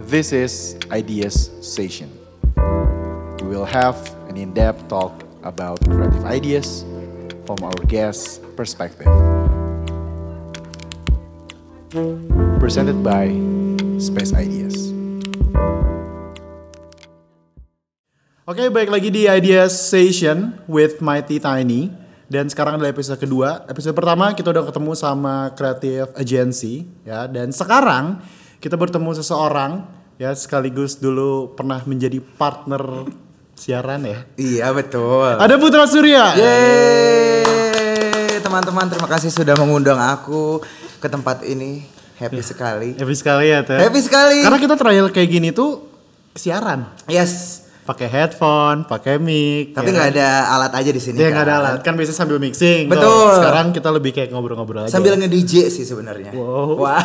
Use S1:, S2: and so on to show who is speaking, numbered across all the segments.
S1: This is Ideas Session. We will have an in depth talk about creative ideas from our guest's perspective. Presented by Space Ideas.
S2: Oke, baik lagi di Ideas Session with Mighty Tiny. Dan sekarang adalah episode kedua. Episode pertama kita udah ketemu sama Creative Agency ya. Dan sekarang kita bertemu seseorang ya sekaligus dulu pernah menjadi partner siaran ya.
S3: Iya betul.
S2: Ada Putra Surya.
S3: Yeay, teman-teman terima kasih sudah mengundang aku ke tempat ini. Happy
S2: Iya.
S3: sekali.
S2: Happy sekali ya, Teh.
S3: Happy sekali.
S2: Karena kita trial kayak gini tuh siaran.
S3: Yes,
S2: Pakai headphone, pakai mic.
S3: tapi
S2: ya.
S3: nggak ada alat aja di sini.
S2: Dia
S3: kan?
S2: nggak ada alat kan biasanya sambil mixing. tuh.
S3: Betul.
S2: Sekarang kita lebih kayak ngobrol-ngobrol aja.
S3: Sambil nge-DJ sih sebenarnya.
S2: Wow.
S3: Wah.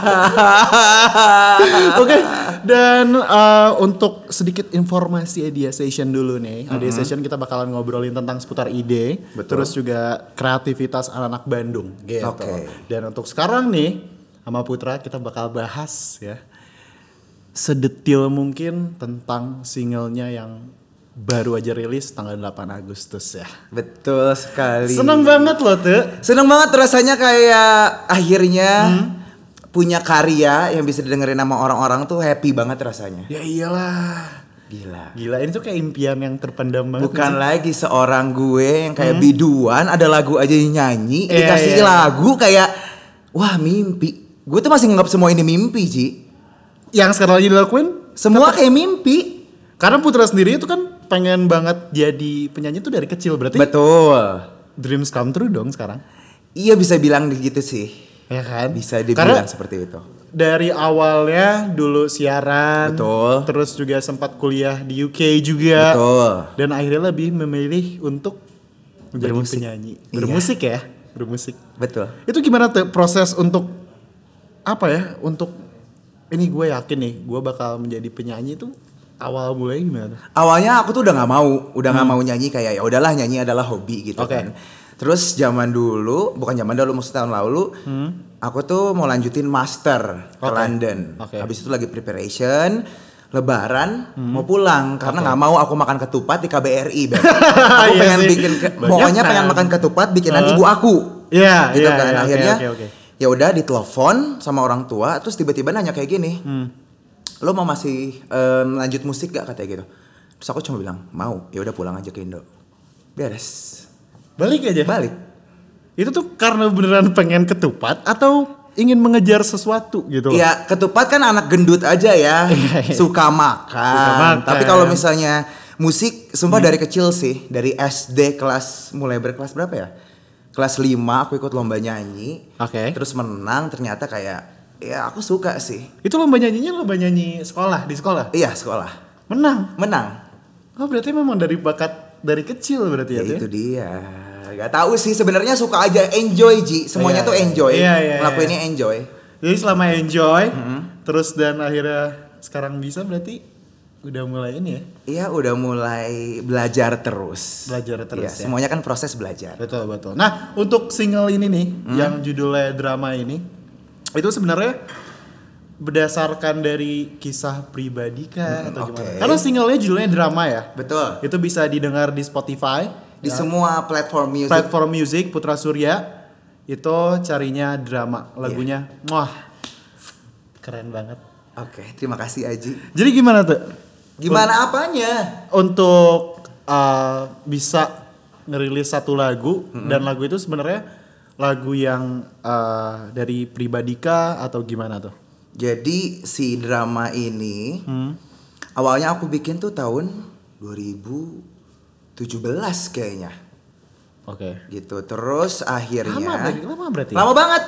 S2: Oke, dan eh, untuk sedikit informasi Idea Session dulu nih. Idea Session kita bakalan ngobrolin tentang seputar ide,
S3: Mm-hmm. Betul.
S2: terus juga kreativitas anak-anak Bandung gitu.
S3: Oke.
S2: Dan untuk sekarang nih sama Putra kita bakal bahas ya sedetil mungkin tentang singlenya yang baru aja rilis tanggal 8 Agustus ya.
S3: Betul sekali.
S2: Seneng banget loh tuh.
S3: Seneng banget rasanya kayak akhirnya
S2: Hmm?
S3: punya karya yang bisa didengerin sama orang-orang tuh happy banget rasanya.
S2: Ya iyalah.
S3: Gila.
S2: Gila ini tuh kayak impian yang terpendam banget.
S3: Bukan lagi seorang gue yang kayak biduan, ada lagu aja yang nyanyi,
S2: Hmm. Iya,
S3: dikasih
S2: iya.
S3: lagu kayak wah mimpi. Gue tuh masih nganggap semua ini mimpi, Ji.
S2: Yang sekarang lagi dilakuin
S3: Semua kayak mimpi.
S2: Karena Putra sendiri itu kan pengen banget jadi penyanyi tuh dari kecil berarti
S3: Betul.
S2: dreams come true dong sekarang.
S3: Iya bisa bilang gitu sih.
S2: Ya kan?
S3: Bisa
S2: Karena
S3: dibilang seperti itu.
S2: dari awalnya dulu siaran,
S3: Betul.
S2: terus juga sempat kuliah di UK juga.
S3: Betul.
S2: Dan akhirnya lebih memilih untuk menjadi penyanyi.
S3: Iya.
S2: Bermusik ya, bermusik.
S3: Betul.
S2: Itu gimana tuh proses untuk apa ya? Untuk ini gue yakin nih, gue bakal menjadi penyanyi tuh awal mulai gimana? tuh?
S3: Awalnya aku tuh udah nggak mau, udah nggak mau nyanyi kayak ya udahlah nyanyi adalah hobi gitu
S2: Hmm. Oke.
S3: kan. Terus zaman dulu, bukan zaman dulu, maksudnya tahun lalu, aku tuh mau lanjutin master
S2: Hmm.
S3: ke
S2: Oke.
S3: London.
S2: Oke. Hmm.
S3: Habis itu lagi preparation, lebaran, mau pulang karena nggak mau aku makan ketupat di KBRI. Beb. aku
S2: Iya
S3: pengen
S2: sih.
S3: bikin, ke-
S2: Banyak
S3: pokoknya
S2: kan.
S3: pengen makan ketupat bikinan ibu aku.
S2: Iya,
S3: gitu
S2: iya,
S3: kan.
S2: iya, oke,
S3: Akhirnya
S2: oke, oke.
S3: ya udah ditelepon sama orang tua, terus tiba-tiba nanya kayak gini
S2: Hmm.
S3: lo mau masih em, lanjut musik gak katanya gitu terus aku cuma bilang mau ya udah pulang aja ke Indo beres
S2: Balik aja.
S3: balik
S2: Itu tuh karena beneran pengen ketupat atau ingin mengejar sesuatu gitu loh.
S3: ya ketupat kan anak gendut aja ya suka
S2: Iya, makan.
S3: makan tapi kalau misalnya musik sumpah dari kecil sih dari SD kelas mulai berkelas berapa ya kelas 5 aku ikut lomba nyanyi
S2: Oke.
S3: Eh, terus menang ternyata kayak ya aku suka sih
S2: Itu lomba nyanyinya lomba nyanyi sekolah di sekolah.
S3: iya sekolah
S2: Menang.
S3: menang
S2: Oh berarti memang dari bakat dari kecil berarti ya.
S3: Ya,
S2: Teh?
S3: itu dia. Gak tahu sih sebenarnya suka aja enjoy Ji. Semuanya
S2: Iya,
S3: tuh
S2: iya.
S3: enjoy.
S2: Iya, iya,
S3: Ngelakuinnya enjoy.
S2: Jadi selama enjoy
S3: Mm-hmm.
S2: terus dan akhirnya sekarang bisa berarti udah mulai ini ya.
S3: Iya udah mulai belajar terus.
S2: Belajar terus,
S3: Iya,
S2: ya.
S3: Semuanya kan proses belajar.
S2: Betul betul. Nah, untuk single ini nih
S3: Mm-hmm.
S2: yang judulnya drama ini itu sebenarnya berdasarkan dari kisah pribadi kah atau gimana?
S3: oke.
S2: Karena singlenya judulnya drama ya.
S3: Betul.
S2: Itu bisa didengar di Spotify,
S3: Di semua platform music.
S2: platform music Putra Surya. Itu carinya drama, lagunya wah Iya. keren banget.
S3: Oke, terima kasih Aji.
S2: Jadi gimana tuh
S3: Gimana apanya?
S2: untuk eh, bisa ngerilis satu lagu dan lagu itu sebenarnya lagu yang eh, dari pribadika atau gimana tuh?
S3: Jadi si drama ini
S2: Hmm.
S3: awalnya aku bikin tuh tahun 2017 kayaknya
S2: Oke.
S3: gitu. Terus akhirnya
S2: Lama berarti, lama berarti. ya?
S3: Lama banget.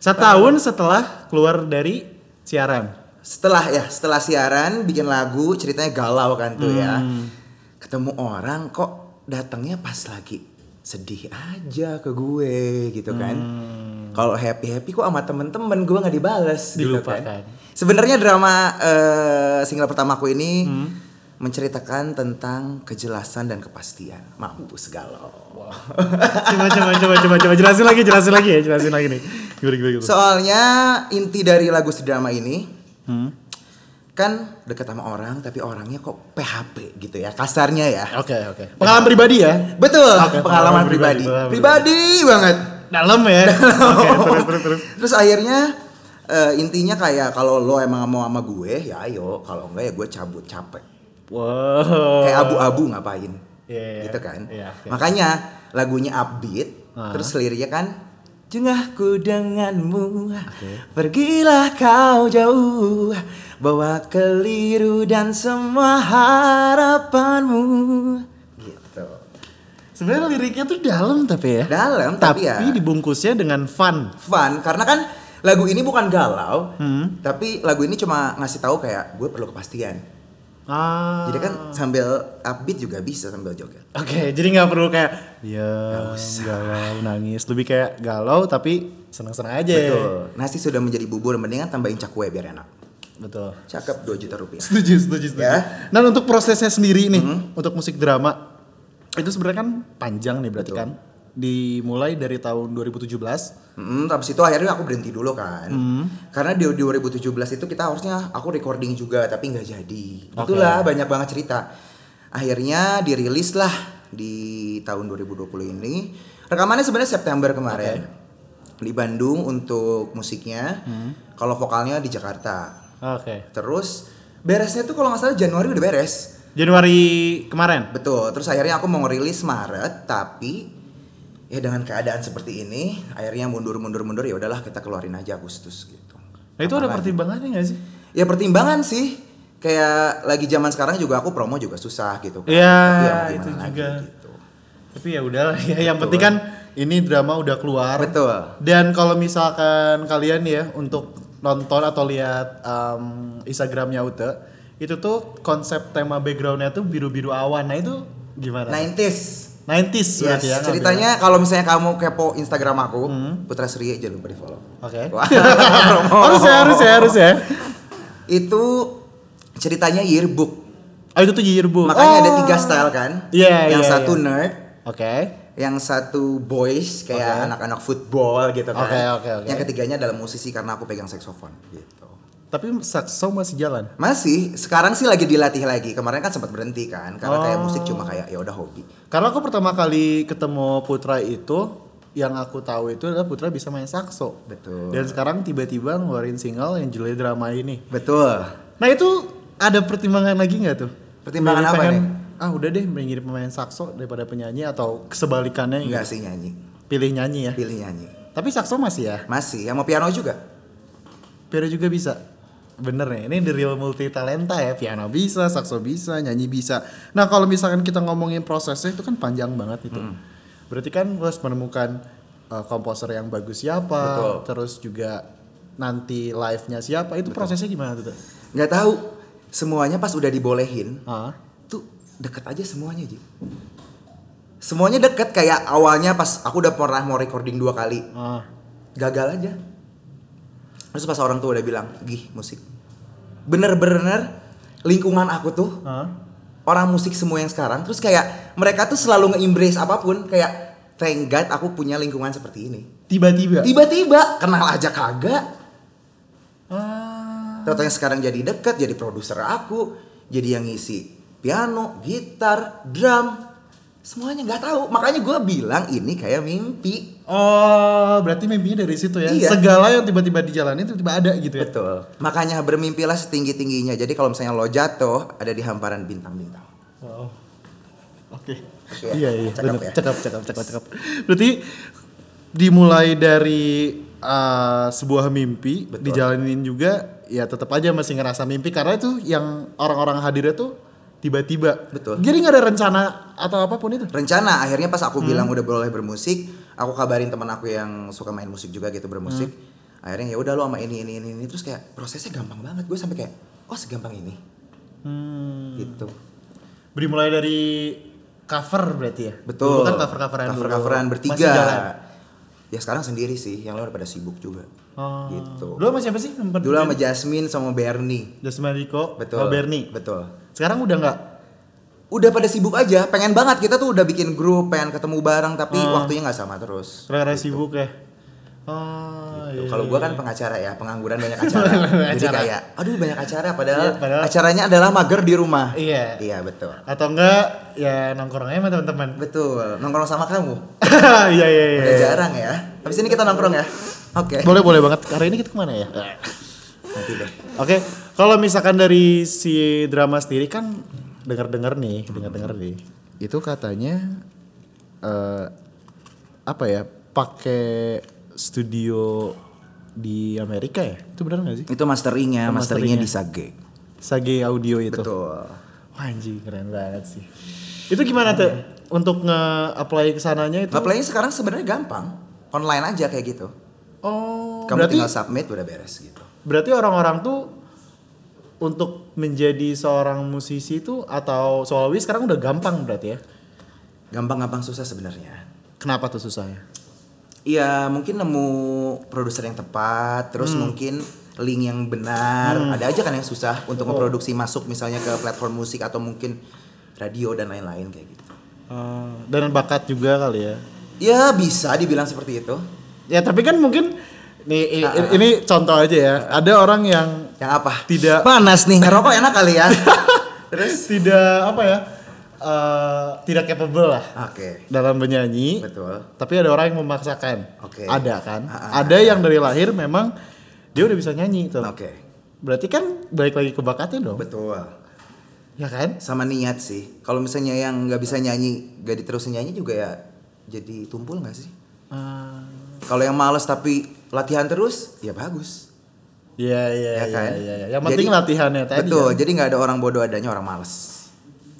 S2: Setahun setelah keluar dari siaran.
S3: setelah ya setelah siaran bikin lagu ceritanya galau kan tuh ya
S2: Hmm.
S3: ketemu orang kok datangnya pas lagi sedih aja ke gue gitu kan
S2: Hmm.
S3: kalau happy happy kok sama temen-temen gue nggak dibales gitu
S2: Dilupakan.
S3: kan sebenarnya drama eh, single pertama aku ini
S2: Hmm.
S3: menceritakan tentang kejelasan dan kepastian mampus galau
S2: Coba coba coba coba coba jelasin lagi, jelasin lagi ya, jelasin lagi nih. Gimana gimana? gimana? Hmm?
S3: soalnya inti dari lagu si drama ini kan deket sama orang tapi orangnya kok PHP gitu ya kasarnya ya
S2: Oke oke. Pengalaman pribadi ya.
S3: betul
S2: Oke,
S3: pengalaman, pribadi pribadi, banget
S2: Dalam ya. Oke terus terus terus.
S3: terus akhirnya eh, intinya kayak kalau lo emang mau sama gue ya ayo kalau enggak ya gue cabut capek
S2: Wow.
S3: kayak abu-abu ngapain
S2: Oh. Iya, iya.
S3: gitu kan
S2: Iya, oke.
S3: makanya lagunya upbeat
S2: Ah.
S3: terus liriknya kan jengahku denganmu pergilah kau jauh bawa keliru dan semua harapanmu gitu
S2: Sebenarnya liriknya tuh dalam tapi ya.
S3: dalam
S2: Tapi,
S3: tapi, ya
S2: dibungkusnya dengan fun.
S3: fun karena kan lagu ini bukan galau
S2: Hmm.
S3: tapi lagu ini cuma ngasih tahu kayak gue perlu kepastian
S2: Ah.
S3: jadi kan sambil upbeat juga bisa sambil joget
S2: Oke, jadi nggak perlu kayak ya galau nangis, lebih kayak galau tapi seneng-seneng aja. ya.
S3: Betul. Nasi sudah menjadi bubur, mendingan tambahin cakwe biar enak.
S2: Betul.
S3: Cakep 2 juta rupiah.
S2: Setuju, setuju, setuju.
S3: Ya. Mm-hmm.
S2: Dan untuk prosesnya sendiri nih, untuk musik drama itu sebenarnya kan panjang nih berarti
S3: Betul.
S2: kan. Dimulai dari tahun 2017.
S3: Mm, habis itu akhirnya aku berhenti dulu kan. Karena di 2017 itu kita harusnya aku recording juga tapi nggak jadi. Itulah banyak banget cerita. Akhirnya dirilis lah di tahun 2020 ini. Rekamannya sebenarnya September kemarin. Di Bandung untuk musiknya. Kalau vokalnya di Jakarta.
S2: Oke.
S3: Terus beresnya tuh kalau nggak salah Januari udah beres.
S2: Januari kemarin.
S3: Betul. Terus akhirnya aku mau ngerilis Maret, tapi ya dengan keadaan seperti ini, akhirnya mundur-mundur-mundur ya udahlah kita keluarin aja Agustus gitu.
S2: Nah, itu ada pertimbangannya nggak sih?
S3: Ya pertimbangan sih. Kayak lagi zaman sekarang juga aku promo juga susah gitu kan.
S2: Iya,
S3: Tapi mau
S2: itu
S3: gimana
S2: juga.
S3: gitu.
S2: Tapi ya udahlah ya, yang penting kan ini drama udah keluar.
S3: Betul.
S2: Dan kalau misalkan kalian ya untuk nonton atau lihat em, Instagramnya Ute, itu tuh konsep tema backgroundnya tuh biru-biru awan. Nah itu gimana?
S3: 90s.
S2: 90s
S3: Yes,
S2: berarti ya. Hmm. ngambilnya.
S3: ceritanya kalau misalnya kamu kepo Instagram aku, Putra Sri jangan lupa di follow.
S2: Oke.
S3: Wah, promo.
S2: harus ya, harus ya, harus ya.
S3: Itu ceritanya yearbook.
S2: Oh itu tuh yearbook.
S3: Makanya ada
S2: Oh.
S3: tiga style kan.
S2: Iya,
S3: Yang
S2: iya,
S3: satu
S2: iya.
S3: nerd,
S2: Oke.
S3: yang satu boys kayak anak-anak football gitu kan.
S2: Oke, oke, oke.
S3: Yang ketiganya adalah musisi karena aku pegang saksofon gitu.
S2: Tapi sakso masih jalan.
S3: Masih sekarang sih lagi dilatih lagi. Kemarin kan sempat berhenti kan karena kayak
S2: Oh.
S3: musik cuma kayak ya udah hobi.
S2: Karena aku pertama kali ketemu Putra itu yang aku tahu itu adalah Putra bisa main sakso.
S3: Betul.
S2: Dan sekarang tiba-tiba ngeluarin single yang judulnya drama ini.
S3: Betul.
S2: Nah itu ada pertimbangan lagi nggak tuh?
S3: Pertimbangan
S2: Milih
S3: apa
S2: pengen,
S3: nih?
S2: Ah udah deh mengirim pemain sakso daripada penyanyi atau sebalikannya
S3: Enggak sih nyanyi.
S2: pilih nyanyi ya.
S3: Pilih nyanyi.
S2: Tapi sakso masih ya.
S3: Masih sama piano juga.
S2: Piano juga bisa. Bener ya, ini the real multi talenta ya. Piano bisa, sakso bisa, nyanyi bisa. Nah kalau misalkan kita ngomongin prosesnya itu kan panjang banget itu. Berarti kan lo harus menemukan uh, komposer yang bagus siapa,
S3: Betul.
S2: terus juga nanti live-nya siapa. Itu prosesnya gimana tuh? Teh?
S3: Nggak tahu semuanya pas udah dibolehin
S2: Ah,
S3: tuh deket aja semuanya Ji. Semuanya deket kayak awalnya pas aku udah pernah mau recording dua kali
S2: ah.
S3: gagal aja terus pas orang tua udah bilang gih musik bener-bener lingkungan aku tuh
S2: ah.
S3: orang musik semua yang sekarang terus kayak mereka tuh selalu nge-embrace apapun kayak thank god aku punya lingkungan seperti ini
S2: Tiba-tiba.
S3: tiba-tiba kenal aja kagak
S2: Ah.
S3: Tau-taunya sekarang jadi deket jadi produser aku jadi yang ngisi piano gitar drum semuanya nggak tahu makanya gue bilang ini kayak mimpi
S2: Oh, berarti mimpinya dari situ ya.
S3: Iya.
S2: Segala yang tiba-tiba dijalani tiba-tiba ada gitu ya.
S3: Betul. Makanya bermimpilah setinggi tingginya. Jadi kalau misalnya lo jatuh, ada di hamparan bintang-bintang.
S2: Wow. Oke.
S3: Oke,
S2: Iya iya.
S3: cakep
S2: Cakep,
S3: ya.
S2: cakep, cakep, cakep, cakep. Berarti dimulai dari uh, sebuah mimpi
S3: Betul.
S2: dijalanin juga ya tetap aja masih ngerasa mimpi karena itu yang orang-orang hadirnya tuh tiba-tiba.
S3: Betul.
S2: Jadi nggak ada rencana atau apapun itu.
S3: Rencana akhirnya pas
S2: Hmm.
S3: aku bilang udah boleh bermusik, aku kabarin teman aku yang suka main musik juga gitu bermusik.
S2: Hmm.
S3: Akhirnya ya udah lo sama ini ini ini ini terus kayak prosesnya gampang banget. Gue sampai kayak oh segampang ini.
S2: Hmm.
S3: Gitu.
S2: Beri mulai dari cover berarti ya.
S3: Betul.
S2: Dulu kan cover-coveran Gitu. dulu.
S3: Cover-coveran
S2: Masih
S3: bertiga.
S2: jalan.
S3: Ya sekarang sendiri sih, yang lain udah pada sibuk juga.
S2: Oh.
S3: Gitu.
S2: Dulu sama siapa sih? Nomor
S3: Dulu sama Jasmine sama Bernie.
S2: Jasmine Rico,
S3: Betul.
S2: sama Oh, Bernie.
S3: Betul.
S2: Sekarang udah nggak?
S3: udah pada sibuk aja
S2: Hmm.
S3: pengen
S2: Gitu.
S3: banget kita tuh udah bikin grup pengen ketemu bareng tapi waktunya nggak sama terus
S2: Gara-gara sibuk ya. Oh,
S3: Tuh,
S2: iya.
S3: Kalau gua kan pengacara ya, pengangguran banyak acara. Jadi
S2: Acara.
S3: kayak, aduh banyak acara padahal,
S2: Iya, padahal-
S3: acaranya adalah mager di rumah.
S2: Iya.
S3: Iya betul.
S2: Atau enggak ya nongkrong aja sama teman-teman.
S3: Betul. Nongkrong sama kamu.
S2: Iya iya iya.
S3: Udah jarang ya. Habis ini kita nongkrong ya. Oke.
S2: Boleh boleh banget. Hari ini kita kemana ya?
S3: Nanti deh.
S2: Oke, kalau misalkan dari si drama sendiri kan dengar-dengar nih, dengar-dengar nih.
S1: itu katanya eh apa ya pakai studio di Amerika ya
S2: Itu benar nggak sih?
S3: Itu masteringnya,
S2: masteringnya.
S3: masteringnya di Sage.
S2: Sage Audio itu.
S3: Betul.
S2: Wah, anjing keren banget sih. Itu gimana tuh
S3: ya?
S2: untuk nge-apply kesananya itu?
S3: Apply-nya sekarang sebenarnya gampang. Online aja kayak gitu.
S2: Oh,
S3: Kamu
S2: berarti
S3: tinggal submit udah beres gitu.
S2: berarti orang-orang tuh untuk menjadi seorang musisi itu atau solois sekarang udah gampang berarti ya.
S3: Gampang-gampang susah sebenarnya.
S2: Kenapa tuh susahnya?
S3: Iya, mungkin nemu produser yang tepat, terus mungkin link yang benar. Ada aja kan yang susah untuk memproduksi masuk misalnya ke platform musik atau mungkin radio dan lain-lain kayak gitu.
S2: dan bakat juga kali ya.
S3: Ya bisa dibilang seperti itu.
S2: Ya tapi kan mungkin nih i-
S3: Nah,
S2: i- ini contoh aja ya. Ada orang yang
S3: Yang apa?
S2: Tidak.
S3: Panas nih, ngerokok enak kali ya. terus
S2: tidak apa ya? eh, tidak capable lah
S3: oke.
S2: dalam bernyanyi.
S3: Betul.
S2: Tapi ada orang yang memaksakan.
S3: Oke.
S2: Ada kan?
S3: Ah, ah,
S2: ada yang dari lahir memang dia udah bisa nyanyi tuh.
S3: Oke.
S2: Berarti kan balik lagi ke bakatnya dong.
S3: Betul.
S2: Ya kan?
S3: Sama niat sih. Kalau misalnya yang nggak bisa nyanyi, gak diterusin nyanyi juga ya jadi tumpul nggak sih?
S2: Ah,
S3: Kalau yang males tapi latihan terus, ya bagus.
S2: Iya iya
S3: ya
S2: iya
S3: kan?
S2: iya. iya. Yang penting
S3: Jadi-
S2: latihannya tadi.
S3: Betul,
S2: kan?
S3: jadi nggak ada orang bodoh adanya orang males.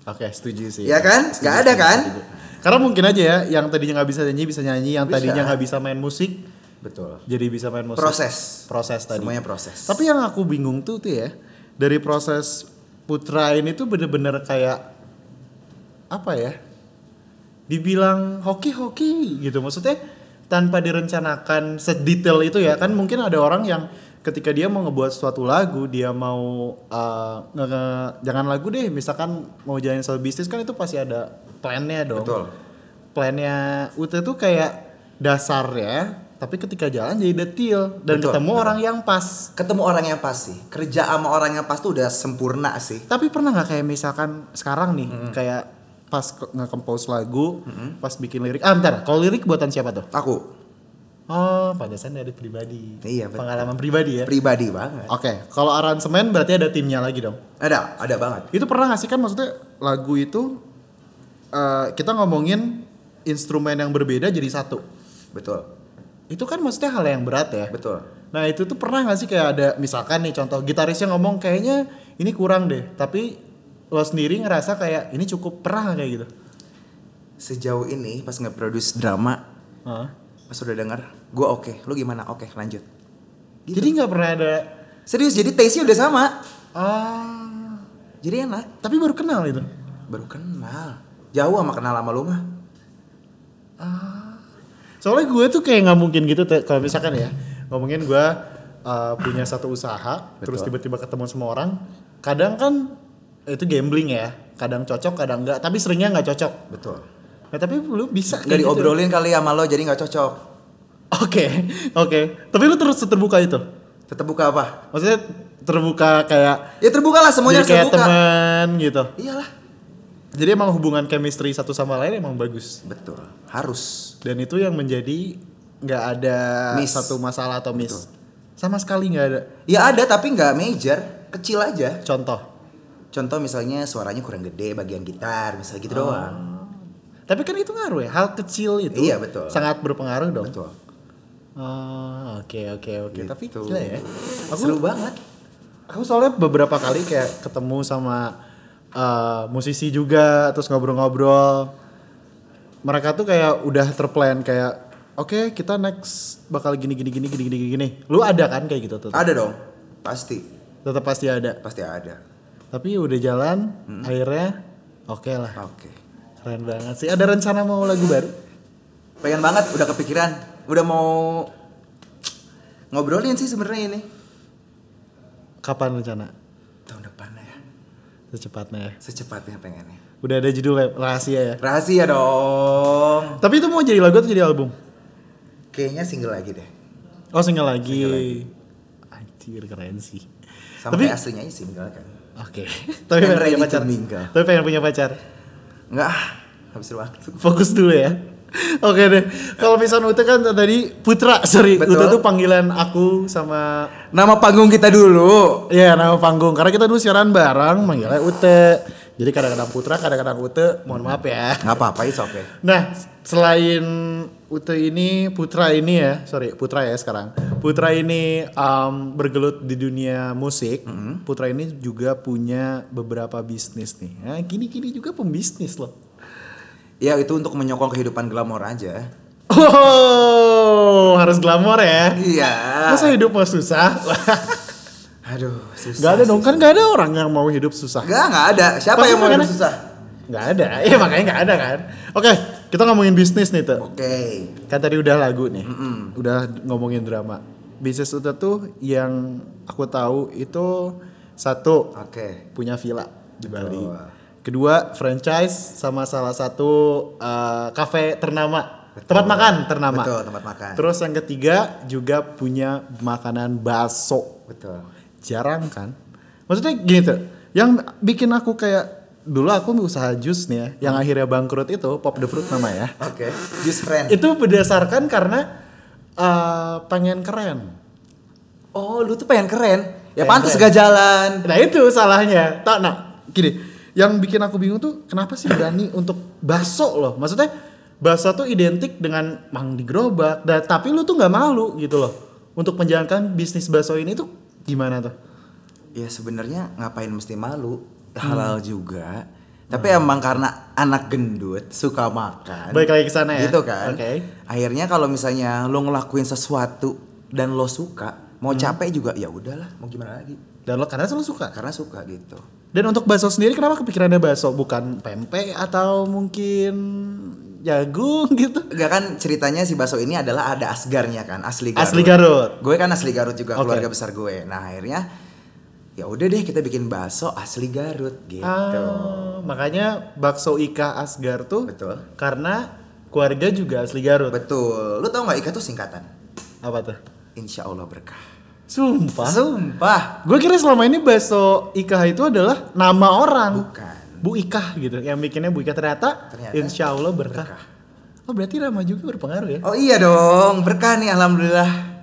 S2: Oke, Iya. setuju sih.
S3: Ya kan? Nggak ada kan?
S2: Karena mungkin aja ya yang tadinya nggak bisa nyanyi bisa nyanyi, yang
S3: Bisa.
S2: tadinya nggak bisa main musik
S3: Betul.
S2: jadi bisa main musik.
S3: Proses.
S2: Proses tadi.
S3: Semuanya proses.
S2: Tapi yang aku bingung tuh tuh ya dari proses Putra ini tuh bener-bener kayak apa ya? Dibilang hoki-hoki gitu maksudnya tanpa direncanakan sedetail itu ya kan mungkin ada orang yang ketika dia mau ngebuat suatu lagu dia mau uh, nge- nge- jangan lagu deh misalkan mau jalanin satu bisnis kan itu pasti ada plannya dong
S3: Betul.
S2: plannya UT tuh kayak dasarnya tapi ketika jalan jadi detail dan
S3: Betul,
S2: ketemu
S3: betul.
S2: orang yang pas
S3: Ketemu orang yang pas sih. Kerja sama orang yang pas tuh udah sempurna sih.
S2: tapi pernah nggak kayak misalkan sekarang nih kayak pas ke- nge-compose lagu pas bikin lirik ah bentar kalau lirik buatan siapa tuh
S3: Aku
S2: oh pantesan dari pribadi
S3: Iya, betul.
S2: pengalaman pribadi ya oke
S3: pribadi banget.
S2: kalau aransemen berarti ada timnya lagi dong
S3: Ada, ada banget.
S2: itu pernah nggak sih kan maksudnya lagu itu eh, kita ngomongin instrumen yang berbeda jadi satu
S3: Betul.
S2: itu kan maksudnya hal yang berat ya
S3: Betul.
S2: Nah itu tuh pernah gak sih kayak ada misalkan nih contoh gitarisnya ngomong kayaknya ini kurang deh tapi lo sendiri ngerasa kayak ini cukup pernah nggak kayak gitu?
S3: Sejauh ini pas nge-produce drama,
S2: Hah?
S3: pas udah denger, gue oke. Lu gimana? Oke, lanjut. Gitu.
S2: Jadi nggak pernah ada
S3: Serius, jadi taste-nya udah sama.
S2: ah
S3: Jadi enak.
S2: tapi baru kenal itu.
S3: Baru kenal. Jauh sama kenal sama lu mah.
S2: Soalnya gue tuh kayak nggak mungkin gitu te- kalau misalkan ya ngomongin gue uh, punya satu usaha terus tiba-tiba ketemu sama orang kadang kan itu gambling ya kadang cocok kadang nggak tapi seringnya nggak cocok.
S3: Betul.
S2: Nah, tapi lu bisa
S3: Gak
S2: kayak gitu.
S3: diobrolin kali sama lo jadi nggak cocok.
S2: Oke oke tapi lu terus terbuka itu.
S3: Tetap buka apa?
S2: Maksudnya terbuka kayak
S3: Ya terbuka lah semuanya
S2: jadi kayak
S3: harus terbuka.
S2: teman gitu.
S3: Iyalah.
S2: Jadi emang hubungan chemistry satu sama lain emang bagus.
S3: Betul. Harus.
S2: Dan itu yang menjadi nggak ada
S3: Miss.
S2: satu masalah atau miss. Sama sekali nggak ada.
S3: Ya ada tapi nggak major, kecil aja.
S2: Contoh.
S3: Contoh misalnya suaranya kurang gede bagian gitar, misalnya
S2: Oh.
S3: gitu doang.
S2: Tapi kan itu ngaruh ya. Hal kecil itu
S3: Iya, betul.
S2: sangat berpengaruh dong.
S3: Betul.
S2: Oh, oke oke oke. Tapi
S3: Gitu.
S2: gila ya. Aku
S3: Seru banget.
S2: aku soalnya beberapa kali kayak ketemu sama eh, musisi juga terus ngobrol-ngobrol mereka tuh kayak udah terplan kayak oke kita next bakal gini gini gini gini gini gini lu ada kan kayak gitu tetap
S3: Ada dong. Pasti.
S2: tetap pasti ada
S3: Pasti ada.
S2: tapi udah jalan akhirnya oke lah
S3: Oke.
S2: keren banget sih ada rencana mau lagu baru
S3: Pengen banget udah kepikiran. Udah mau ngobrolin sih sebenarnya ini.
S2: kapan rencana
S3: Tahun depan lah ya.
S2: secepatnya ya
S3: Secepatnya pengennya.
S2: udah ada judul rahasia ya
S3: Rahasia dong.
S2: tapi itu mau jadi lagu atau jadi album
S3: Kayaknya single lagi deh.
S2: Oh single lagi. Anjir keren sih.
S3: Sama
S2: Tapi-
S3: kayak aslinya aja single kan.
S2: Oke. Tapi pengen punya
S3: ready to
S2: pacar.
S3: mingle.
S2: Tapi pengen punya pacar.
S3: Enggak, ah, habis waktu.
S2: Fokus dulu ya. Oke deh. Kalau misalnya Ute kan tadi Putra, sorry.
S3: Betul.
S2: Ute tuh panggilan aku sama
S3: Nama panggung kita dulu.
S2: ya nama panggung karena kita dulu siaran bareng manggilnya Ute. Jadi kadang-kadang Putra, kadang-kadang Ute. Mohon maaf ya.
S3: Enggak apa-apa, is okay.
S2: Nah, selain Ute ini, Putra ini ya, sorry, Putra ya sekarang. Putra ini um, bergelut di dunia musik. Putra ini juga punya beberapa bisnis nih. Nah, gini-gini juga pembisnis loh.
S3: Ya itu untuk menyokong kehidupan glamor aja.
S2: Oh, harus glamor ya.
S3: Iya.
S2: Masa hidup mau susah?
S3: Aduh, susah.
S2: gak ada dong, kan gak ada orang yang mau hidup susah.
S3: Enggak, enggak ada. Siapa
S2: Pasti
S3: yang mau hidup
S2: makanya-
S3: susah?
S2: Gak ada, ya makanya gak ada kan. Oke, kita ngomongin bisnis nih tuh.
S3: Oke.
S2: kan tadi udah lagu nih udah ngomongin drama bisnis itu tuh yang aku tahu itu satu
S3: Oke.
S2: punya villa di Bali
S3: Betul.
S2: kedua franchise sama salah satu eh, cafe ternama tempat makan ternama
S3: Betul, tempat makan.
S2: terus yang ketiga juga punya makanan bakso
S3: Betul.
S2: jarang kan maksudnya gini tuh yang bikin aku kayak dulu aku usaha jus nih ya yang akhirnya bangkrut itu pop the fruit nama ya
S3: Oke. Just friend.
S2: itu berdasarkan karena eh, pengen keren
S3: Oh, lu tuh pengen keren. Ya
S2: Pengen
S3: pantas
S2: keren.
S3: gak jalan.
S2: nah itu salahnya tak nah gini yang bikin aku bingung tuh kenapa sih berani untuk baso loh maksudnya baso tuh identik dengan mang di gerobak dan tapi lu tuh nggak malu gitu loh untuk menjalankan bisnis baso ini tuh gimana tuh
S3: Ya sebenarnya ngapain mesti malu?
S2: Hmm.
S3: Halal juga. Tapi emang karena anak gendut suka makan.
S2: Balik lagi ke sana ya?
S3: Gitu kan.
S2: Oke.
S3: Akhirnya kalau misalnya lo ngelakuin sesuatu dan lo suka,
S2: Hmm.
S3: mau capek juga ya udahlah, mau gimana lagi?
S2: dan lo karena selalu suka
S3: Karena suka gitu.
S2: dan untuk baso sendiri kenapa kepikirannya baso bukan pempek atau mungkin jagung gitu
S3: Gak kan ceritanya si Baso ini adalah ada asgarnya kan, asli Garut.
S2: asli Garut
S3: Gue kan asli Garut juga,
S2: Oke.
S3: keluarga besar gue. Nah, akhirnya ya udah deh kita bikin bakso asli Garut gitu.
S2: Ah, makanya bakso Ika Asgar tuh
S3: Betul.
S2: karena keluarga juga asli Garut.
S3: Betul. Lu tau nggak Ika tuh singkatan?
S2: Apa tuh?
S3: Insya Allah berkah.
S2: Sumpah.
S3: Sumpah.
S2: Gue kira selama ini bakso Ika itu adalah nama orang.
S3: Bukan.
S2: Bu Ika gitu. Yang bikinnya Bu Ika ternyata,
S3: Ternyata
S2: insya Allah berkah.
S3: berkah.
S2: Oh berarti Rama juga berpengaruh ya?
S3: Oh iya dong, berkah nih alhamdulillah.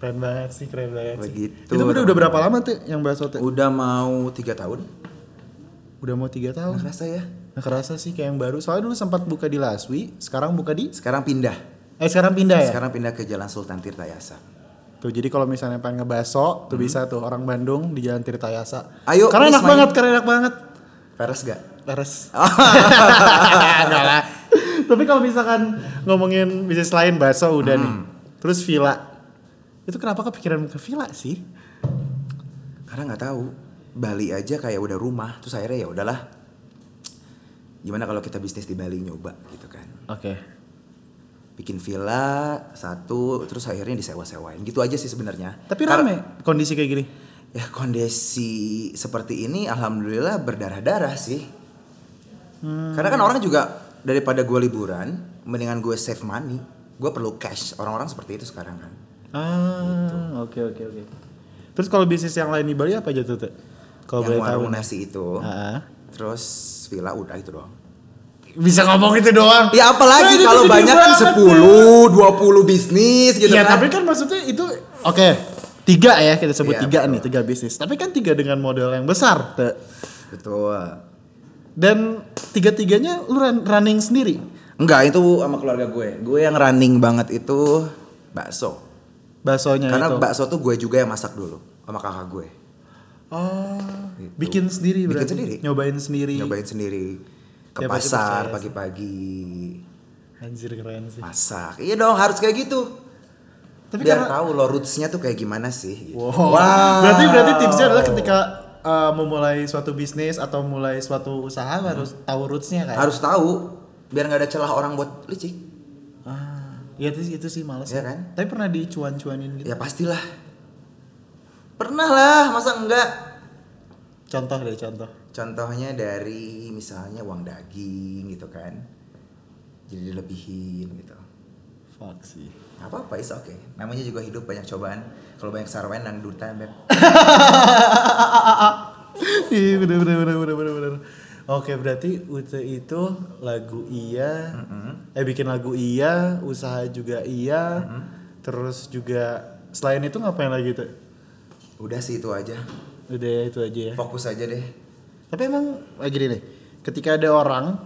S2: Keren banget sih, keren banget sih.
S3: Begitu,
S2: Itu udah,
S3: Rama.
S2: udah berapa lama tuh yang bakso tuh?
S3: Udah mau tiga tahun.
S2: Udah mau tiga tahun.
S3: Ngerasa ya?
S2: Nah, kerasa sih kayak yang baru. Soalnya dulu sempat buka di Laswi, sekarang buka di...
S3: Sekarang pindah.
S2: Eh sekarang pindah ya?
S3: Sekarang pindah ke Jalan Sultan Tirtayasa.
S2: Tuh jadi kalau misalnya pengen ngebaso tuh bisa tuh orang Bandung di Jalan Tirtayasa.
S3: Ayo,
S2: Karena
S3: please,
S2: enak
S3: main.
S2: banget, karena enak banget.
S3: Peres gak?
S2: Leres. Enggak lah. Tapi kalau misalkan ngomongin bisnis lain baso udah nih. Terus villa. Itu kenapa kepikiran ke villa sih?
S3: Karena nggak tahu. Bali aja kayak udah rumah. Terus akhirnya ya udahlah. Gimana kalau kita bisnis di Bali nyoba gitu kan?
S2: Oke.
S3: Bikin villa satu, terus akhirnya disewa-sewain. Gitu aja sih sebenarnya.
S2: Tapi
S3: Kar-
S2: rame kondisi kayak gini.
S3: Ya kondisi seperti ini alhamdulillah berdarah-darah sih.
S2: Hmm.
S3: Karena kan orang juga daripada gue liburan, mendingan gue save money. Gue perlu cash. Orang-orang seperti itu sekarang kan.
S2: Ah, oke oke oke. Terus kalau bisnis yang lain di Bali apa aja tuh? Teh? Kalau
S3: Yang
S2: boleh tahu.
S3: warung nasi itu,
S2: Ah.
S3: terus villa udah itu doang.
S2: Bisa ngomong itu doang.
S3: Ya
S2: Nah,
S3: apalagi
S2: itu
S3: kalau
S2: gede
S3: banyak kan
S2: banget, Teh.
S3: 10, 20 bisnis gitu
S2: Iya,
S3: kan.
S2: tapi kan maksudnya itu oke tiga ya kita sebut
S3: Iya,
S2: tiga
S3: betul.
S2: nih tiga bisnis. Tapi kan tiga dengan modal yang besar Te.
S3: Betul.
S2: dan tiga tiganya lu run- running sendiri.
S3: Enggak, itu sama keluarga gue. Gue yang running banget itu bakso.
S2: Baksonya
S3: Karena
S2: Nah, itu.
S3: bakso tuh gue juga yang masak dulu sama kakak gue.
S2: oh, bikin sendiri
S3: Gitu. Bikin
S2: berarti.
S3: sendiri.
S2: Nyobain sendiri.
S3: nyobain sendiri
S2: Iya. Ya,
S3: ke
S2: pasti
S3: pasar
S2: percaya sih.
S3: pagi-pagi
S2: Anjir keren sih.
S3: masak iya dong harus kayak gitu
S2: Tapi
S3: biar
S2: karena
S3: tahu lo rootsnya tuh kayak gimana sih gitu.
S2: Wow. Berarti berarti tipsnya adalah ketika uh, memulai suatu bisnis atau mulai suatu usaha harus tahu rootsnya kan.
S3: harus tahu biar nggak ada celah orang buat licik
S2: Ah, ya itu itu sih males
S3: Iya
S2: ya.
S3: kan?
S2: Tapi pernah dicuan-cuanin gitu.
S3: ya pastilah pernah lah masa enggak
S2: Contoh deh contoh.
S3: contohnya dari misalnya uang daging gitu kan jadi dilebihin gitu
S2: Fuck sih.
S3: Gak apa-apa, is okay. Namanya juga hidup banyak cobaan. Kalau banyak sarwen dan duta, beb.
S2: Iya bener bener bener bener bener bener. Oke berarti Ute itu lagu iya, eh bikin lagu iya, usaha juga iya, terus juga selain itu ngapain lagi tuh?
S3: Udah sih itu aja.
S2: Udah ya, itu aja ya.
S3: Fokus aja deh.
S2: Tapi emang lagi gini nih, ketika ada orang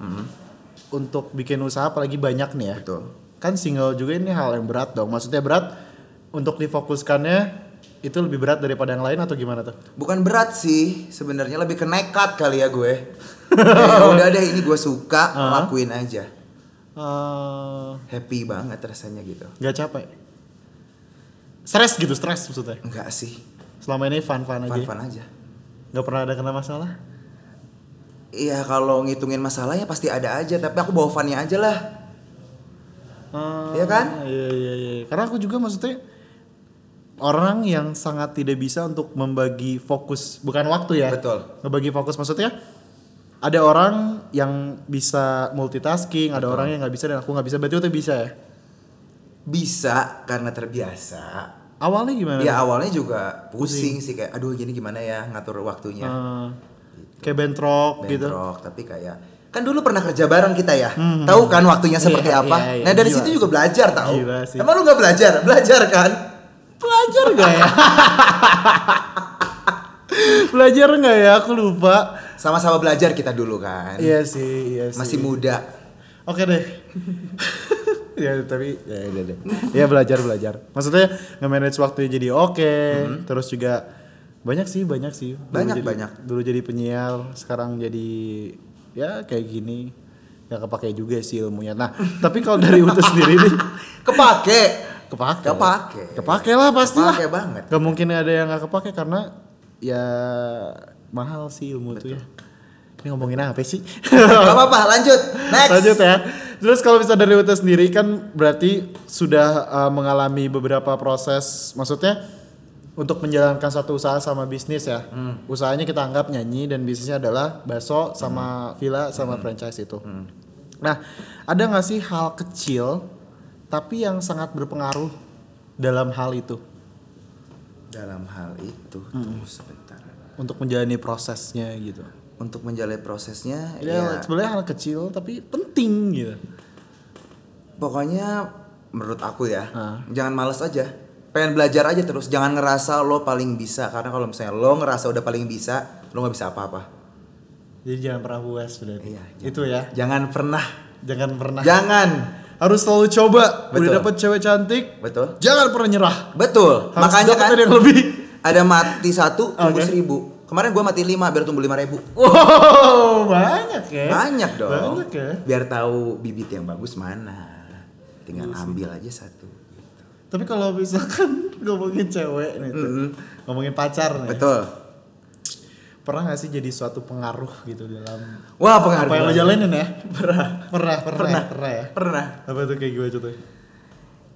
S2: untuk bikin usaha apalagi banyak nih ya.
S3: Betul.
S2: Kan single juga ini hal yang berat dong. Maksudnya berat untuk difokuskannya itu lebih berat daripada yang lain atau gimana tuh?
S3: Bukan berat sih, sebenarnya lebih ke nekat kali ya gue. Ya udah deh, ini gue suka, lakuin aja.
S2: Eh,
S3: Happy banget rasanya gitu.
S2: nggak capek. Stres gitu, stres maksudnya.
S3: Enggak sih,
S2: Selama ini fun-fun aja. ya?
S3: fun-fun aja.
S2: Nggak pernah ada kena masalah.
S3: Iya kalau ngitungin masalah ya pasti ada aja, tapi aku bawa funnya aja lah.
S2: Eh,
S3: Iya kan?
S2: Iya iya iya. Karena aku juga maksudnya orang yang sangat tidak bisa untuk membagi fokus, bukan waktu ya.
S3: Betul.
S2: Ngebagi fokus maksudnya ada orang yang bisa multitasking, ada orang yang nggak bisa dan aku nggak bisa. Berarti itu bisa ya?
S3: Bisa karena terbiasa.
S2: Awalnya gimana?
S3: Ya awalnya juga pusing, sih kayak aduh gini gimana ya ngatur waktunya.
S2: Eh, kayak bentrok, gitu. Hmm,
S3: bentrok tapi kayak kan dulu pernah kerja bareng kita ya tahu kan waktunya seperti
S2: Iya,
S3: apa
S2: iya, iya.
S3: nah dari
S2: Gila
S3: situ
S2: sih.
S3: juga belajar tahu
S2: Gila sih.
S3: emang lu nggak belajar belajar kan
S2: Belajar nggak ya? Belajar nggak ya? Aku lupa.
S3: sama-sama belajar kita dulu kan
S2: Iya sih, iya sih.
S3: masih muda
S2: Oke deh. ya tapi ya udah deh. Ya belajar belajar. Maksudnya nge-manage waktunya jadi oke, terus juga banyak sih, banyak sih. Dulu
S3: Banyak,
S2: jadi-
S3: banyak.
S2: Dulu jadi penyiar, sekarang jadi ya kayak gini. Gak kepake juga sih ilmunya. Nah, tapi kalau dari Utu sendiri nih
S3: kepake
S2: kepake.
S3: Kepake.
S2: Kepake lah pasti lah.
S3: Kepake banget.
S2: Gak mungkin ada yang gak kepake karena ya mahal sih ilmu itu ya. Ini ngomongin apa sih?
S3: nggak apa-apa lanjut next
S2: Lanjut ya. Terus kalau bisa dari Uta sendiri kan berarti sudah uh, mengalami beberapa proses, maksudnya untuk menjalankan satu usaha sama bisnis ya. Usahanya kita anggap nyanyi dan bisnisnya adalah bakso sama villa sama franchise itu. Nah, ada nggak sih hal kecil tapi yang sangat berpengaruh dalam hal itu
S3: dalam hal itu
S2: Hmm.
S3: tunggu sebentar
S2: untuk menjalani prosesnya gitu?
S3: untuk menjalani prosesnya
S2: Ya,
S3: ya,
S2: sebenarnya hal kecil tapi penting gitu.
S3: pokoknya menurut aku ya
S2: Ah.
S3: jangan males aja pengen belajar aja terus jangan ngerasa lo paling bisa karena kalau misalnya lo ngerasa udah paling bisa lo nggak bisa apa-apa
S2: Jadi jangan pernah puas berarti.
S3: Iya,
S2: itu ya.
S3: jangan pernah
S2: Jangan pernah.
S3: jangan
S2: harus selalu coba. Udah
S3: Betul.
S2: dapet cewek cantik,
S3: betul
S2: jangan pernah nyerah. Harus
S3: betul makanya
S2: dapetin
S3: kan
S2: yang lebih.
S3: ada mati satu
S2: Oke.
S3: tumbuh seribu kemarin gua mati lima biar tumbuh lima ribu
S2: Wow, banyak ya.
S3: Oh. banyak dong
S2: Banyak ya.
S3: biar tahu bibit yang bagus mana tinggal
S2: Iya
S3: ambil aja satu
S2: Tapi kalau misalkan ngomongin cewek nih, tuh, ngomongin pacar nih,
S3: betul
S2: pernah gak sih jadi suatu pengaruh gitu dalam
S3: wah pengaruh
S2: apa yang lo
S3: banget.
S2: jalanin ya? Pernah, pernah, pernah, pernah, ya.
S3: pernah
S2: Apa tuh kayak gimana contohnya?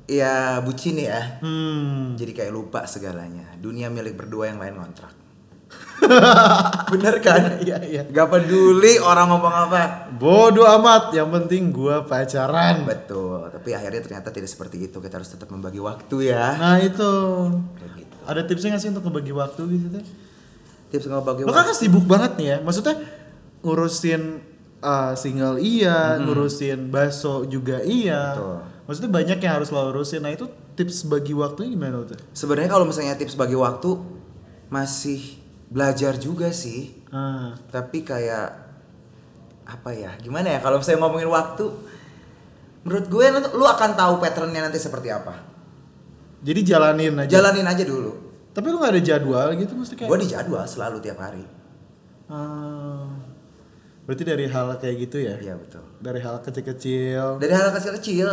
S3: ya bucin ya
S2: Hmm,
S3: Jadi kayak lupa segalanya. Dunia milik berdua yang lain ngontrak. Bener kan?
S2: iya iya.
S3: Gak peduli orang ngomong apa.
S2: Bodoh amat, yang penting gua pacaran.
S3: Betul. Tapi akhirnya ternyata tidak seperti itu. Kita harus tetap membagi waktu ya.
S2: Nah itu,
S3: Begitu.
S2: ada tipsnya gak sih untuk ngebagi waktu gitu tuh?
S3: Tips ngebagi
S2: Lo kan
S3: waktu.
S2: kan sibuk banget nih ya, maksudnya ngurusin uh, single iya, ngurusin baso juga iya.
S3: Betul.
S2: Maksudnya banyak yang harus lo urusin. Nah itu tips bagi waktunya gimana lo tuh?
S3: Sebenarnya kalau misalnya tips bagi waktu masih belajar juga sih.
S2: Ah,
S3: Tapi kayak apa ya? Gimana ya? Kalau misalnya ngomongin waktu, menurut gue nanti- lu akan tahu patternnya nanti seperti apa.
S2: jadi jalanin aja.
S3: Jalanin aja dulu.
S2: Tapi lo gak ada jadwal gitu mesti kayak.
S3: Gue dijadwal selalu tiap hari.
S2: Ah, berarti dari hal kayak gitu ya?
S3: Iya betul.
S2: Dari hal kecil-kecil
S3: dari hal kecil kecil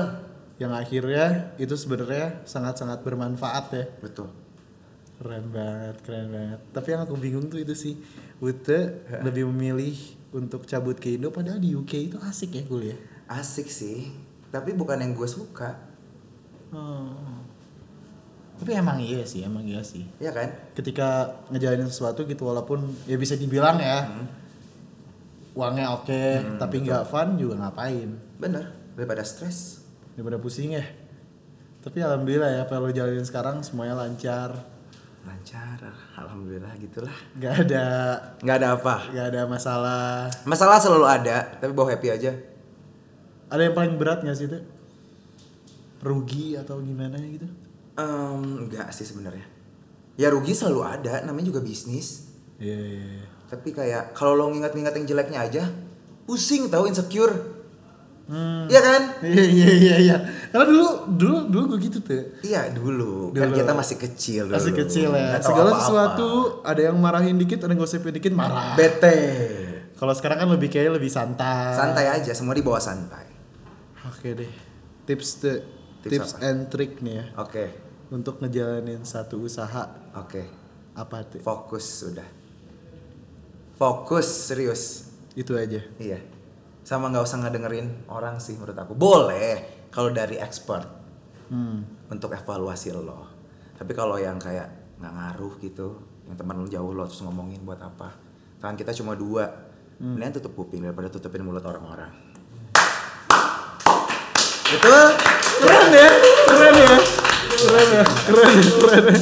S2: yang akhirnya itu sebenarnya sangat-sangat bermanfaat ya.
S3: betul
S2: Keren banget, keren banget. Tapi yang aku bingung tuh itu sih, Ute lebih memilih untuk cabut ke Indo padahal di UK itu asik ya kuliah.
S3: asik sih tapi bukan yang gue suka
S2: Oh. Tapi emang iya sih, emang iya sih.
S3: ya kan
S2: Ketika ngejalanin sesuatu gitu walaupun ya bisa dibilang ya uangnya oke, tapi nggak fun juga ngapain
S3: bener daripada stres
S2: daripada pusing ya. Tapi alhamdulillah ya, apa yang lo jalanin sekarang semuanya lancar.
S3: Lancar, alhamdulillah gitulah.
S2: Gak ada
S3: Nggak ada apa.
S2: gak ada masalah.
S3: Masalah selalu ada, tapi bawa happy aja.
S2: Ada yang paling berat gak sih itu? Rugi atau gimana gitu?
S3: Em, enggak sih sebenarnya. Ya rugi selalu ada, namanya juga bisnis.
S2: Iya, iya, iya.
S3: Tapi kayak kalau lo ngingat-ngingat yang jeleknya aja, pusing tahu insecure. Iya kan?
S2: Iya, iya, iya, iya. Karena dulu, dulu, dulu gue gitu tuh.
S3: Iya dulu. Kan
S2: Dulu.
S3: kita masih kecil dulu.
S2: Masih kecil ya.
S3: Nggak tahu
S2: Segala
S3: apa-apa. Iya.
S2: sesuatu ada yang marahin dikit, ada yang gosipin dikit marah.
S3: Bete.
S2: Kalau sekarang kan lebih kayak lebih santai.
S3: Santai aja, semua dibawa santai.
S2: Oke deh. Tips the tips,
S3: Tips apa?
S2: and trick nih ya
S3: Oke,
S2: untuk ngejalanin satu usaha
S3: oke.
S2: apa tuh?
S3: Fokus sudah. Fokus serius.
S2: Itu aja.
S3: Iya. Sama nggak usah ngedengerin orang sih menurut aku. Boleh kalau dari expert
S2: Hmm.
S3: untuk evaluasi lo. Tapi kalau yang kayak nggak ngaruh gitu, yang teman lo jauh lo terus ngomongin buat apa? Tangan kita cuma dua.
S2: Hmm.
S3: Mendingan tutup kuping daripada tutupin mulut orang-orang. Betul?
S2: Keren ya, keren ya, keren ya, keren, ya, keren. ya.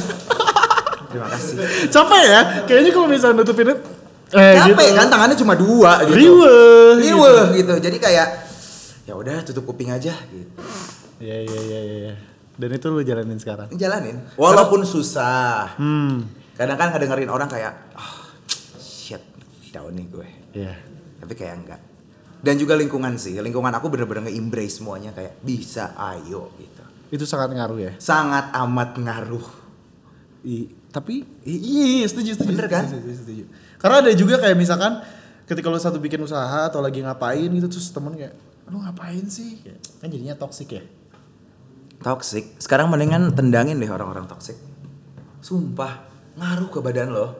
S3: Terima kasih.
S2: Capek ya? Kayaknya kalau misalnya nutupin it- eh,
S3: capek
S2: gitu.
S3: kan tangannya cuma dua gitu.
S2: Riweuh, gitu.
S3: Riweuh, gitu. Jadi kayak ya udah tutup kuping aja gitu.
S2: Iya iya iya iya. iya. Dan itu lu jalanin sekarang.
S3: Jalanin. Walaupun susah.
S2: Hmm.
S3: Kadang kan ngedengerin orang kayak ah shit, down nih gue.
S2: Iya.
S3: Tapi kayak enggak. Dan juga lingkungan sih. Lingkungan aku bener-bener nge-embrace semuanya kayak bisa ayo gitu.
S2: Itu sangat ngaruh ya.
S3: Sangat amat ngaruh.
S2: I, tapi iya setuju setuju.
S3: Bener kan?
S2: Setuju, setuju, setuju. Karena ada juga kayak misalkan ketika lo satu bikin usaha atau lagi ngapain gitu terus temen kayak lu ngapain sih? Kayak, Kan jadinya toksik ya.
S3: Toxic. Sekarang mendingan tendangin deh orang-orang toxic. Sumpah, ngaruh ke badan lo.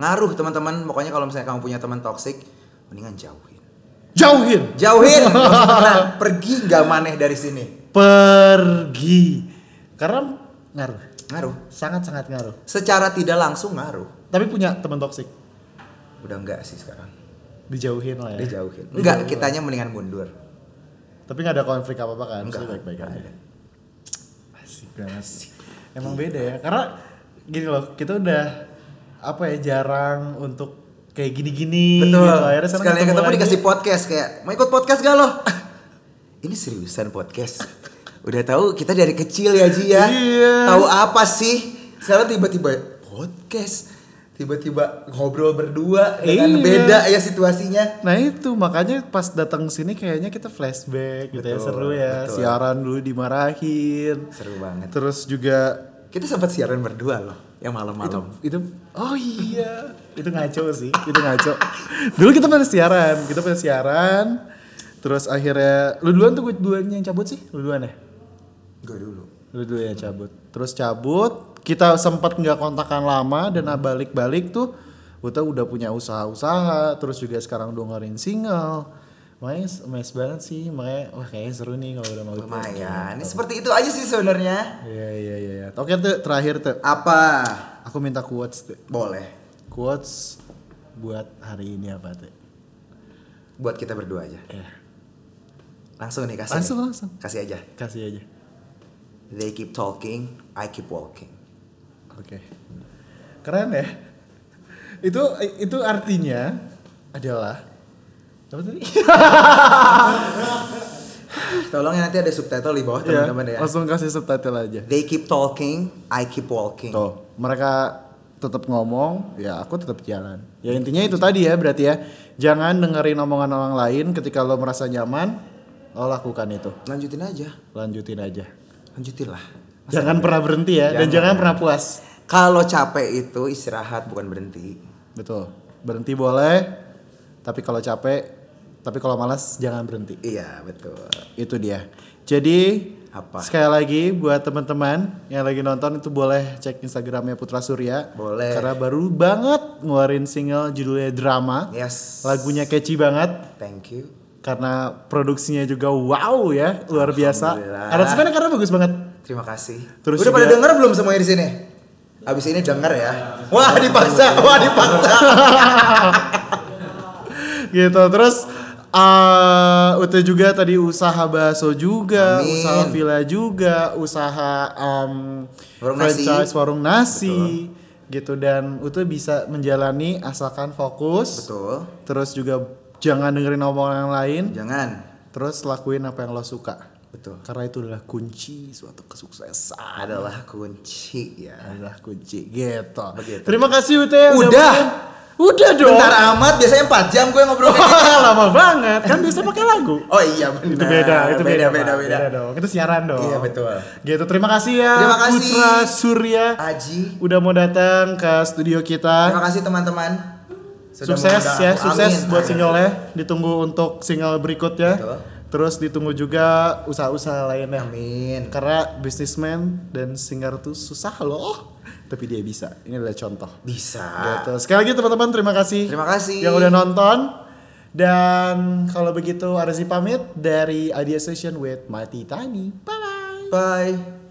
S3: Ngaruh teman-teman. Pokoknya kalau misalnya kamu punya teman toxic, mendingan jauhin.
S2: Jauhin,
S3: Jauhin. Kalau bisa temenan. Pergi nggak maneh dari sini.
S2: pergi. Karena ngaruh,
S3: Ngaruh.
S2: sangat sangat ngaruh.
S3: Secara tidak langsung ngaruh.
S2: Tapi punya teman toksik,
S3: Udah enggak sih sekarang.
S2: dijauhin lah ya.
S3: Dijauhin.
S2: Dijauhin
S3: Enggak,
S2: lah.
S3: kitanya mendingan mundur.
S2: Tapi nggak ada konflik apa apa kan?
S3: Enggak.
S2: Maksudnya baik-baik
S3: Enggak
S2: aja.
S3: ada.
S2: Asik banget. Emang beda ya, karena gini loh, kita udah apa ya jarang untuk kayak gini-gini.
S3: Betul.
S2: Gitu. Akhirnya sekarang
S3: Sekali ketemu
S2: lagi.
S3: dikasih podcast kayak, "Mau ikut podcast gak lo?" Ini seriusan podcast. Udah tahu kita dari kecil ya Ji ya.
S2: Iya.
S3: Tahu apa sih? Sekarang tiba-tiba podcast. Tiba-tiba ngobrol berdua
S2: Iya.
S3: dengan beda ya situasinya.
S2: Nah itu makanya pas datang sini kayaknya kita flashback gitu ya
S3: Betul,
S2: seru ya.
S3: betul. Nah,
S2: Siaran dulu dimarahin.
S3: Seru banget.
S2: Terus juga
S3: Kita sempat siaran berdua loh, yang malam-malam.
S2: itu oh iya itu ngaco sih itu ngaco. Dulu kita pernah siaran, kita pernah siaran. Terus akhirnya lu duluan tuh gue duluan yang cabut sih, lu duluan ya.
S3: Gue dulu.
S2: Lu dulu yang cabut. Terus cabut, kita sempat nggak kontakan lama dan nah balik-balik tuh Uta udah punya usaha-usaha, terus juga sekarang udah ngeluarin single. Makanya mes banget sih, makanya wah kayaknya seru nih kalau udah mau gitu.
S3: Lumayan. Ini seperti itu aja sih sebenarnya.
S2: Iya iya iya. iya. Oke tuh terakhir tuh,
S3: Apa?
S2: aku minta quotes tuh.
S3: Boleh.
S2: Quotes buat hari ini apa tuh?
S3: Buat kita berdua aja.
S2: Iya.
S3: Langsung nih kasih.
S2: Langsung,
S3: nih.
S2: langsung.
S3: Kasih aja.
S2: Kasih aja.
S3: They keep talking, I keep walking.
S2: Oke. Keren ya. Itu itu artinya adalah apa tadi?
S3: Tolong ya nanti ada subtitle di bawah
S2: Iya,
S3: teman-teman ya.
S2: Langsung kasih subtitle aja.
S3: They keep talking, I keep walking.
S2: Tuh, mereka tetap ngomong, ya aku tetap jalan. Ya intinya itu tadi ya berarti ya. Jangan dengerin omongan orang lain ketika lo merasa nyaman, lo lakukan itu.
S3: Lanjutin aja,
S2: Lanjutin aja.
S3: lanjutin lah.
S2: Jangan pernah berhenti ya dan
S3: Jangan.
S2: jangan pernah puas.
S3: Kalau capek itu istirahat bukan berhenti.
S2: Betul. Berhenti boleh, tapi kalau capek, tapi kalau malas jangan berhenti.
S3: Iya betul.
S2: Itu dia. Jadi
S3: Apa?
S2: sekali lagi buat teman-teman yang lagi nonton itu boleh cek Instagramnya Putra Surya.
S3: Boleh.
S2: Karena baru banget ngeluarin single judulnya Drama.
S3: Yes.
S2: Lagunya catchy banget
S3: Thank you.
S2: karena produksinya juga wow ya, luar biasa.
S3: Alhamdulillah.
S2: Aransemennya karena bagus banget.
S3: Terima kasih.
S2: Terus
S3: Udah pada
S2: juga-
S3: denger belum semuanya di sini? Abis ini denger ya.
S2: Iya.
S3: Wah dipaksa, wah dipaksa.
S2: gitu. Terus eh Ute juga tadi usaha bakso juga,
S3: Amin.
S2: usaha villa juga, usaha em,
S3: Warung nasi.
S2: franchise warung nasi gitu dan Ute bisa menjalani asalkan fokus.
S3: Betul.
S2: Terus juga jangan dengerin omongan yang lain,
S3: Jangan.
S2: terus lakuin apa yang lo suka.
S3: Betul.
S2: Karena itu adalah kunci suatu kesuksesan.
S3: Adalah kunci ya.
S2: Adalah kunci gitu.
S3: Begitu.
S2: Terima kasih Ute.
S3: Udah.
S2: main. Udah dong.
S3: Bentar amat biasanya 4 jam gue ngobrol. kayak gini.
S2: Lama banget. Kan biasa pakai lagu.
S3: oh iya benar.
S2: itu beda, itu beda,
S3: beda beda.
S2: Pak.
S3: beda.
S2: dong. Itu siaran dong.
S3: Iya, betul.
S2: Gitu, terima kasih ya.
S3: Terima kasih.
S2: Putra Surya
S3: Aji.
S2: udah mau datang ke studio kita.
S3: Terima kasih teman-teman. Sudah
S2: Sukses
S3: mengundang
S2: ya,
S3: aku.
S2: sukses
S3: Amin.
S2: buat
S3: Amin.
S2: singlenya. Ditunggu untuk single berikutnya.
S3: Betul.
S2: Terus ditunggu juga usaha-usaha lainnya.
S3: Amin.
S2: Karena businessman dan singer tuh susah loh. Tapi dia bisa. Ini adalah contoh.
S3: Bisa.
S2: Gitu. Sekali lagi teman-teman terima kasih.
S3: Ah. Terima kasih.
S2: Yang udah nonton. Dan kalau begitu Arzi pamit dari Idea Session with Mati Tani. Bye bye.
S3: Bye.